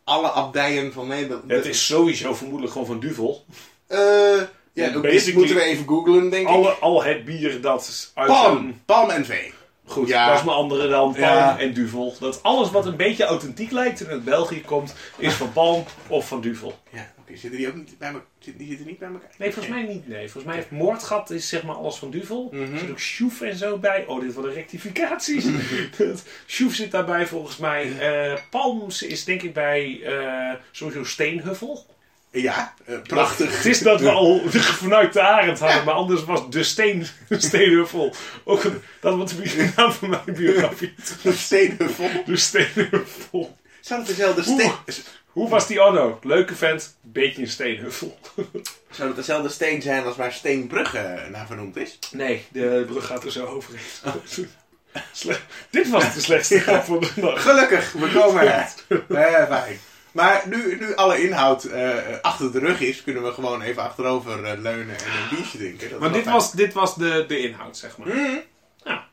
Speaker 1: alle abdijen van Nederland.
Speaker 2: Het is sowieso vermoedelijk gewoon van Duvel.
Speaker 1: Eh, ja, ook
Speaker 2: Basically-
Speaker 1: dit moeten we even googlen, denk ik.
Speaker 2: Alle, al het bier dat is uit een-
Speaker 1: Palm, palm en vee.
Speaker 2: Goed,
Speaker 1: Ja.
Speaker 2: dat is mijn andere dan. Palm
Speaker 1: Ja.
Speaker 2: en Duvel. Dat alles wat een beetje authentiek lijkt en uit België komt, is van Palm of van Duvel.
Speaker 1: Ja, oké, zitten die ook niet bij elkaar? Die zitten niet bij elkaar?
Speaker 2: Nee, volgens mij niet. Nee. Volgens mij heeft Moordgat is zeg maar alles van Duvel.
Speaker 1: Mhm.
Speaker 2: Er zit ook Sjoef en zo bij. Oh, dit worden rectificaties. Sjoef zit daarbij volgens mij. Eh Palms is denk ik bij eh, sowieso Steenhuffel.
Speaker 1: Ja, eh, prachtig.
Speaker 2: Het is dat we al de gefnuikte arend hadden, maar anders was de steen steenhuffel. Ook een- dat was de naam van mijn biografie.
Speaker 1: De stenen vol.
Speaker 2: De steenhuffel.
Speaker 1: Zou het dezelfde steen...
Speaker 2: Oeh. Hoe was die Onno? Leuke vent, beetje een steenhuffel.
Speaker 1: Zou het dezelfde steen zijn als waar Steenbrugge eh, naar vernoemd is?
Speaker 2: Nee, de brug gaat er zo overheen. Sle- Dit was de slechtste grap van de nacht.
Speaker 1: Gelukkig, we komen er. Eh, fijn. Maar nu, nu alle inhoud eh, achter de rug is, kunnen we gewoon even achterover eh, leunen en een biertje drinken. Dat is
Speaker 2: Maar
Speaker 1: wel
Speaker 2: dit
Speaker 1: fijn.
Speaker 2: was, dit was de, de inhoud, zeg maar. Ja.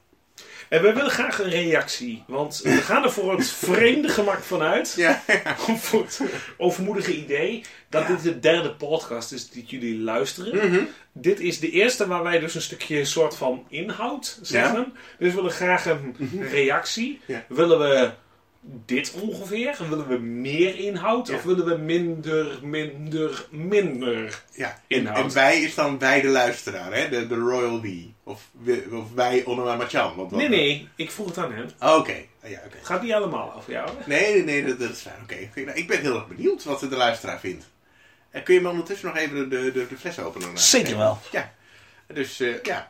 Speaker 2: En we willen graag een reactie, want we gaan er voor het vreemde gemak vanuit.
Speaker 1: Ja, ja.
Speaker 2: voor het overmoedige idee dat dit de derde podcast is die jullie luisteren.
Speaker 1: Mhm.
Speaker 2: Dit is de eerste waar wij dus een stukje soort van inhoud zeggen. Dus we willen graag een reactie.
Speaker 1: Mhm. Ja.
Speaker 2: Willen we dit ongeveer? Willen we meer inhoud?
Speaker 1: Ja.
Speaker 2: Of willen we minder, minder, minder?
Speaker 1: ja.
Speaker 2: Inhoud.
Speaker 1: En wij is dan wij de luisteraar, hè? De, de Royal We. Of, we- of wij Onoma Machan. want wat-
Speaker 2: Nee, nee, ik vroeg het aan hem.
Speaker 1: Oh, Oké, Ah, ja, oké.
Speaker 2: Gaat die allemaal over jou? hè?
Speaker 1: Nee, nee, nee, dat, dat is fijn. Oké, Oké, nou, ik ben heel erg benieuwd wat de luisteraar vindt. En kun je me ondertussen nog even de, de, de fles openen?
Speaker 2: Zeker wel.
Speaker 1: Ja. Dus eh, ja,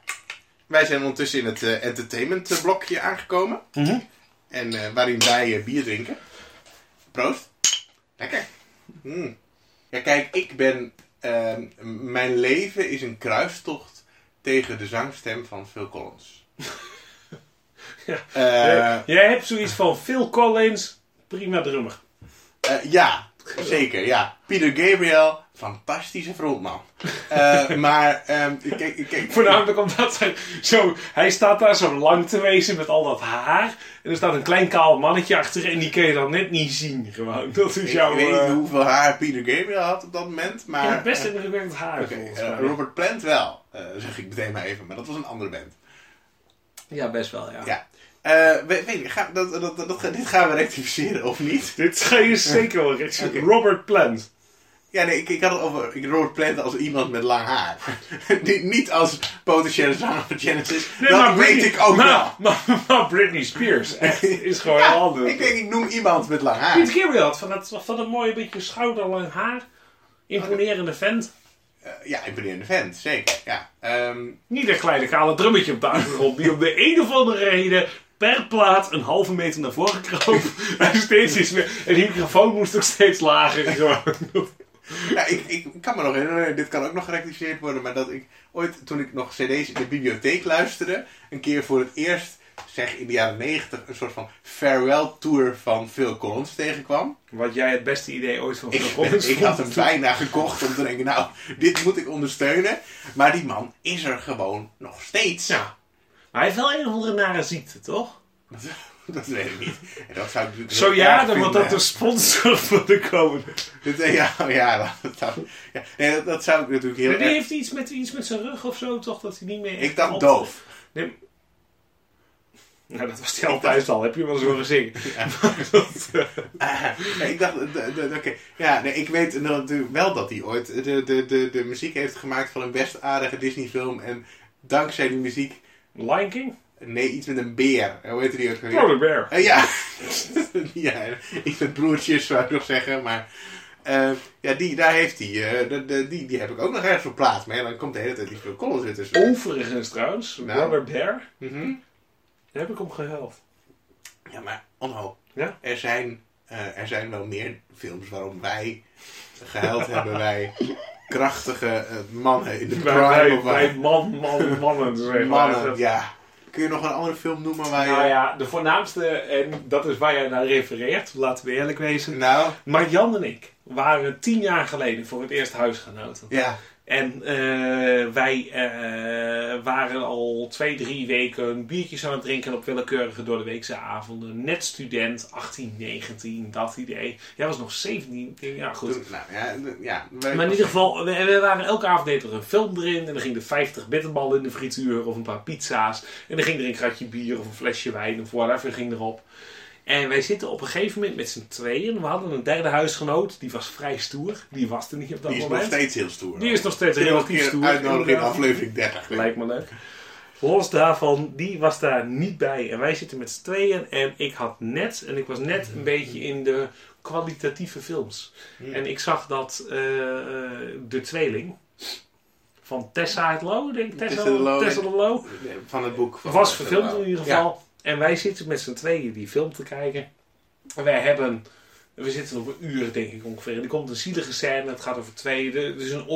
Speaker 1: wij zijn ondertussen in het eh, entertainment eh, blokje aangekomen. En eh, waarin wij eh, bier drinken. Proost. Lekker. Mm. Ja, kijk, ik ben... ehm, m- mijn leven is een kruistocht tegen de zangstem van Phil Collins.
Speaker 2: Ja.
Speaker 1: Eh,
Speaker 2: Eh, Jij hebt zoiets van Phil Collins, prima drummer.
Speaker 1: Eh, ja, zeker, ja. Peter Gabriel, fantastische frontman. Eh, maar, ehm, kijk, kijk...
Speaker 2: Voornamelijk omdat hij, zo, hij staat daar zo lang te wezen met al dat haar. En er staat een klein kaal mannetje achter en die kun je dan net niet zien gewoon. Dat is
Speaker 1: Ik
Speaker 2: jouw...
Speaker 1: weet
Speaker 2: eh,
Speaker 1: niet hoeveel haar Peter Gabriel had op dat moment, maar...
Speaker 2: ja, best indrukwekkend haar
Speaker 1: Oké,
Speaker 2: volgens
Speaker 1: eh,
Speaker 2: mij.
Speaker 1: Robert Plant wel, eh, zeg ik meteen maar even, maar dat was een andere band.
Speaker 2: Ja, best wel,
Speaker 1: Ja. Eh, we- weet ik, ga, dat, dat, dat, dat- dit gaan we rectificeren of niet?
Speaker 2: Dit ga je zeker wel Richard.
Speaker 1: Oké.
Speaker 2: Robert Plant.
Speaker 1: Ja, nee, ik, ik had het over ik Robert Plant als iemand met lang haar. niet, niet als potentiële zanger van Genesis. dat weet
Speaker 2: Britney-
Speaker 1: ik ook
Speaker 2: maar, Nou,
Speaker 1: wel.
Speaker 2: Maar, maar Britney Spears echt, is gewoon
Speaker 1: Ja,
Speaker 2: heel anders.
Speaker 1: ik denk, ik noem iemand met lang haar.
Speaker 2: Piet Gabriel had van dat, van dat mooie beetje schouderlang haar. Imponerende vent.
Speaker 1: Eh, ja, ik ben een vent, zeker. Ja. Ehm,
Speaker 2: Niet een kleine kale drummetje op de achtergrond die om de een of andere reden per plaat een halve meter naar voren kroop. En steeds iets meer. En die microfoon moest ook steeds lager. gewoon.
Speaker 1: nou, ik, ik kan me nog herinneren, dit kan ook nog gerectificeerd worden, maar dat ik ooit, toen ik nog CD's in de bibliotheek luisterde, een keer voor het eerst, zeg in de jaren negentig, een soort van farewell tour van Phil Collins tegenkwam.
Speaker 2: Wat jij het beste idee ooit van Phil
Speaker 1: Ik,
Speaker 2: Collins
Speaker 1: ik had hem
Speaker 2: vond.
Speaker 1: bijna gekocht om te denken, nou, dit moet ik ondersteunen. Maar die man is er gewoon nog steeds.
Speaker 2: Ja. Maar hij heeft wel een of andere nare ziekte, toch?
Speaker 1: Dat, dat weet ik niet. En dat zou ik natuurlijk
Speaker 2: Zo
Speaker 1: heel
Speaker 2: ja,
Speaker 1: erg
Speaker 2: dan wordt dat
Speaker 1: vinden.
Speaker 2: de sponsor van de komende.
Speaker 1: Dit- Ja, ja, dat, dat, ja. Nee, dat, dat zou ik natuurlijk heel
Speaker 2: Maar die
Speaker 1: erg...
Speaker 2: heeft iets met, iets met zijn rug of zo, toch? Dat hij niet meer...
Speaker 1: Ik
Speaker 2: echt
Speaker 1: dacht
Speaker 2: al-
Speaker 1: doof.
Speaker 2: Nee. Nou, dat was hij altijd al. Heb je wel zo gezien?
Speaker 1: Ah, nee, ik dacht, d- d- oké. Ja, nee, ik weet natuurlijk wel dat hij ooit de, de, de, de muziek heeft gemaakt van een best aardige Disney-film. En dankzij die muziek,
Speaker 2: Lion King?
Speaker 1: nee, iets met een beer. Hoe heette die ook? alweer?
Speaker 2: Polar Bear.
Speaker 1: Eh, ja. ja, ik ben broertjes, zou ik nog zeggen. Maar eh, ja, die, daar heeft hij. eh, de- de- die, die heb ik ook nog ergens verplaatst. Maar ja, dan komt de hele tijd die Phil Collins weer tussen.
Speaker 2: Overigens trouwens,
Speaker 1: Nou.
Speaker 2: Robert Bear,
Speaker 1: Mhm.
Speaker 2: daar heb ik om gehuild.
Speaker 1: Ja, maar onho.
Speaker 2: Ja?
Speaker 1: Er, zijn, eh, er zijn wel meer films waarom wij gehuild hebben. Wij krachtige eh, mannen in de prime.
Speaker 2: Bij,
Speaker 1: of waar-
Speaker 2: bij man, man, mannen. Zeg maar.
Speaker 1: mannen,
Speaker 2: Dat-
Speaker 1: ja. Kun je nog een andere film noemen waar je...
Speaker 2: Nou ja, de voornaamste, en dat is waar jij naar refereert, laten we eerlijk wezen.
Speaker 1: Nou,
Speaker 2: Marjan en ik waren tien jaar geleden voor het eerst huisgenoten.
Speaker 1: ja.
Speaker 2: En eh, wij eh, waren al twee, drie weken biertjes aan het drinken op willekeurige door de weekse avonden. Net student, 18, 19, dat idee. Jij was nog 17, ja goed.
Speaker 1: Toen- nou, ja, d- ja wij-
Speaker 2: Maar in ieder geval, we, we waren elke avond deed er een film erin. En dan ging er 50 bitterballen in de frituur of een paar pizza's. En dan ging er een kratje bier of een flesje wijn of whatever ging erop. En wij zitten op een gegeven moment met z'n tweeën. We hadden een derde huisgenoot, die was vrij stoer. Die was er niet op dat
Speaker 1: Die is nog
Speaker 2: moment.
Speaker 1: steeds heel stoer.
Speaker 2: die is nog steeds
Speaker 1: Heel
Speaker 2: relatief
Speaker 1: keer
Speaker 2: stoer.
Speaker 1: uitnodiging in
Speaker 2: inderdaad.
Speaker 1: aflevering 30.
Speaker 2: Lijkt me leuk. Los daarvan, die was daar niet bij. En wij zitten met z'n tweeën. En ik had net, en ik was net een beetje in de kwalitatieve films.
Speaker 1: Hmm.
Speaker 2: En ik zag dat eh, eh, de tweeling van Tessa het Low, denk ik, Tessa,
Speaker 1: Tessa de Lo,
Speaker 2: Tessa de Lo,
Speaker 1: Van het boek. Van eh,
Speaker 2: was verfilmd in ieder
Speaker 1: Ja.
Speaker 2: geval. En wij zitten met z'n tweeën die film te kijken. En wij hebben... We zitten op een uur, denk ik ongeveer. Er komt een zielige scène, het gaat over twee. de- Het is een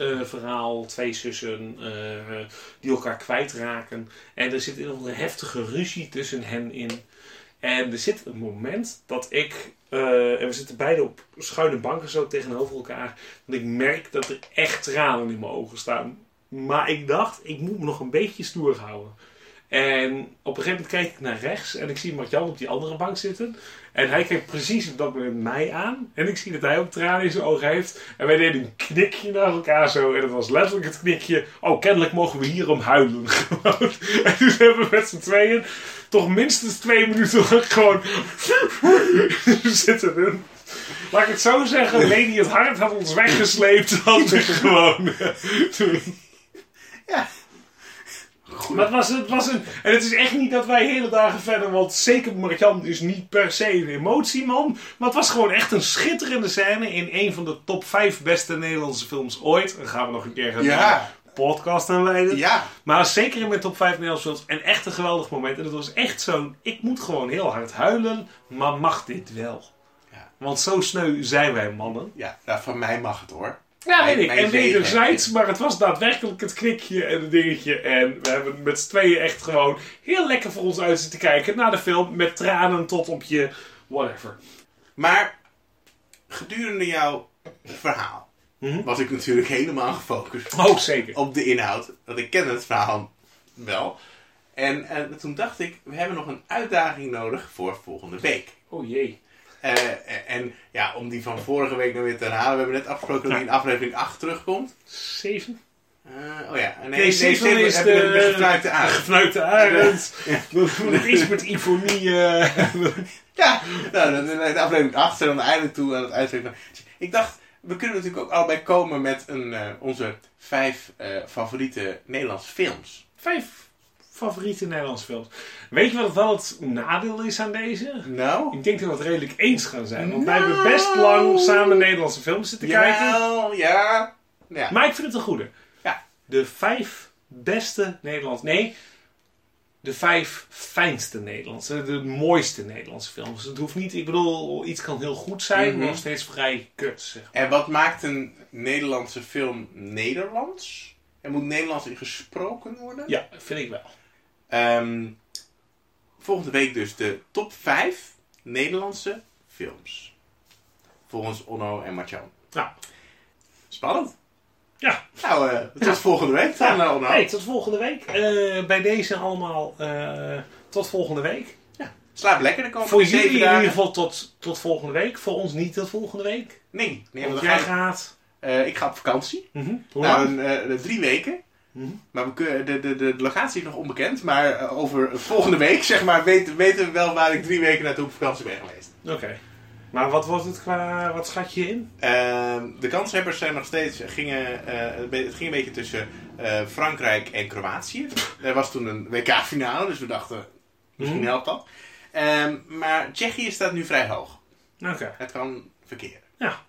Speaker 2: oorlogsverhaal. twee zussen eh, die elkaar kwijtraken. En er zit een heftige ruzie tussen hen in. En er zit een moment dat ik. eh, en we zitten beide op schuine banken zo tegenover elkaar. Dat ik merk dat er echt tranen in mijn ogen staan. Maar ik dacht, ik moet me nog een beetje stoer houden. En op een gegeven moment kijk ik naar rechts en ik zie Martjan op die andere bank zitten. En hij kijkt precies op dat moment mij aan. En ik zie dat hij ook tranen in zijn ogen heeft. En wij deden een knikje naar elkaar zo. En dat was letterlijk het knikje. Oh, kennelijk mogen we hierom huilen. Gewoon. en toen hebben we met z'n tweeën toch minstens twee minuten lang gewoon zitten doen. Laat ik het zo zeggen, Lady het Hart had ons weggesleept. Had we gewoon. eh,
Speaker 1: Ja.
Speaker 2: Maar het was, het was een. En het is echt niet dat wij hele dagen verder. Want zeker Marjan is niet per se een emotieman. Maar het was gewoon echt een schitterende scène. In een van de top 5 beste Nederlandse films ooit. Dan gaan we nog een keer een
Speaker 1: Ja.
Speaker 2: podcast aanwijden.
Speaker 1: Ja.
Speaker 2: Maar zeker in mijn top 5 Nederlandse films. En echt een geweldig moment. En het was echt zo'n. Ik moet gewoon heel hard huilen. Maar mag dit wel?
Speaker 1: Ja.
Speaker 2: Want zo sneu zijn wij mannen.
Speaker 1: Ja, nou, van mij mag het hoor.
Speaker 2: Ja, weet
Speaker 1: Mijn-
Speaker 2: ik.
Speaker 1: mijn
Speaker 2: En
Speaker 1: zegen.
Speaker 2: wederzijds, maar het was daadwerkelijk het knikje en het dingetje. En we hebben met z'n tweeën echt gewoon heel lekker voor ons uit zitten kijken naar de film. Met tranen tot op je whatever.
Speaker 1: Maar gedurende jouw verhaal
Speaker 2: Mhm.
Speaker 1: was ik natuurlijk helemaal gefocust
Speaker 2: Oh, zeker.
Speaker 1: op de inhoud. Want ik ken het verhaal wel. En, en toen dacht ik, we hebben nog een uitdaging nodig voor volgende week.
Speaker 2: Oh jee.
Speaker 1: Eh, en ja, om die van vorige week nog weer te herhalen. We hebben net afgesproken dat die in aflevering 8 terugkomt.
Speaker 2: Zeven?
Speaker 1: Eh, oh ja, nee,
Speaker 2: Nee, zeven
Speaker 1: zeven
Speaker 2: is
Speaker 1: hebben we
Speaker 2: de-
Speaker 1: gefluit
Speaker 2: De
Speaker 1: aan.
Speaker 2: gefnuikte arend. Nog iets met ifonie. eh.
Speaker 1: Ja, nou, dan- dan- dan- de aflevering 8 en dan eindelijk toe aan het uitdrukken. Ik dacht, we kunnen natuurlijk ook allebei komen met een, eh, onze vijf eh, favoriete Nederlandse films.
Speaker 2: Vijf favoriete Nederlandse films. Weet je wat wel het nadeel is aan deze?
Speaker 1: Nou?
Speaker 2: Ik denk dat we het redelijk eens gaan zijn. Want wij hebben
Speaker 1: Nou.
Speaker 2: best lang samen Nederlandse films zitten kijken.
Speaker 1: Ja, ja. ja.
Speaker 2: Maar ik vind het een goede.
Speaker 1: Ja.
Speaker 2: De vijf beste Nederlandse... Nee, de vijf fijnste Nederlandse, de mooiste Nederlandse films. Het hoeft niet... Ik bedoel, iets kan heel goed zijn,
Speaker 1: Mhm.
Speaker 2: maar nog steeds vrij kut, zeg maar.
Speaker 1: En wat maakt een Nederlandse film Nederlands? Er moet Nederlands in gesproken worden?
Speaker 2: Ja, vind ik wel.
Speaker 1: Ehm, volgende week dus de top 5 Nederlandse films. Volgens Onno en Martjan.
Speaker 2: Nou,
Speaker 1: Spannend.
Speaker 2: ja.
Speaker 1: Nou, eh, tot volgende week dan, eh, Onno.
Speaker 2: Hey, tot volgende week. Eh, bij deze allemaal eh, tot volgende week.
Speaker 1: Slaap lekker de komende
Speaker 2: Voor
Speaker 1: zeven
Speaker 2: jullie in
Speaker 1: dagen.
Speaker 2: ieder geval tot, tot volgende week. Voor ons niet tot volgende week.
Speaker 1: Nee, nee
Speaker 2: Want
Speaker 1: want
Speaker 2: jij
Speaker 1: we gaan,
Speaker 2: gaat...
Speaker 1: eh, ik ga op vakantie.
Speaker 2: Mhm. Hoe
Speaker 1: Nou,
Speaker 2: lang?
Speaker 1: een, eh, drie weken.
Speaker 2: Mhm.
Speaker 1: Maar we kunnen, de, de, de locatie is nog onbekend. Maar eh, over volgende week, zeg maar, weten, weten we wel waar ik drie weken naartoe op vakantie ben geweest.
Speaker 2: Oké. Maar wat wordt het qua... Wat schat je in?
Speaker 1: Ehm, de kanshebbers zijn nog steeds, gingen, eh, een be- het ging een beetje tussen eh, Frankrijk en Kroatië. Er was toen een WK-finale, dus we dachten, misschien
Speaker 2: Mhm.
Speaker 1: helpt dat. Ehm, maar Tsjechië staat nu vrij hoog.
Speaker 2: Oké.
Speaker 1: Het kan verkeren.
Speaker 2: Ja.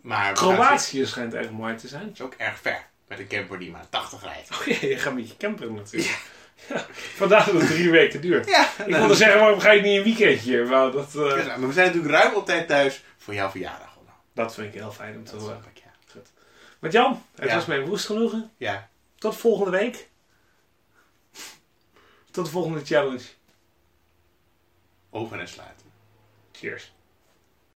Speaker 1: Maar we gaan zien.
Speaker 2: Kroatië schijnt erg mooi te zijn.
Speaker 1: Het is ook erg ver, met een camper die maar 80 rijdt.
Speaker 2: Oh ja, je gaat met je camper natuurlijk. Ja. Vandaar dat het drie weken duurt.
Speaker 1: Ja, nou,
Speaker 2: Ik wilde zeggen, waarom ga je niet een weekendje? Maar dat, eh,
Speaker 1: maar we zijn natuurlijk ruim op tijd thuis voor jouw verjaardag. Onno.
Speaker 2: dat vind ik heel fijn om te
Speaker 1: Dat
Speaker 2: horen.
Speaker 1: snap ik, ja.
Speaker 2: Met Jan, het
Speaker 1: Ja.
Speaker 2: was mijn woest genoegen.
Speaker 1: Ja,
Speaker 2: Tot volgende week. Tot de volgende challenge.
Speaker 1: open en sluiten.
Speaker 2: Cheers.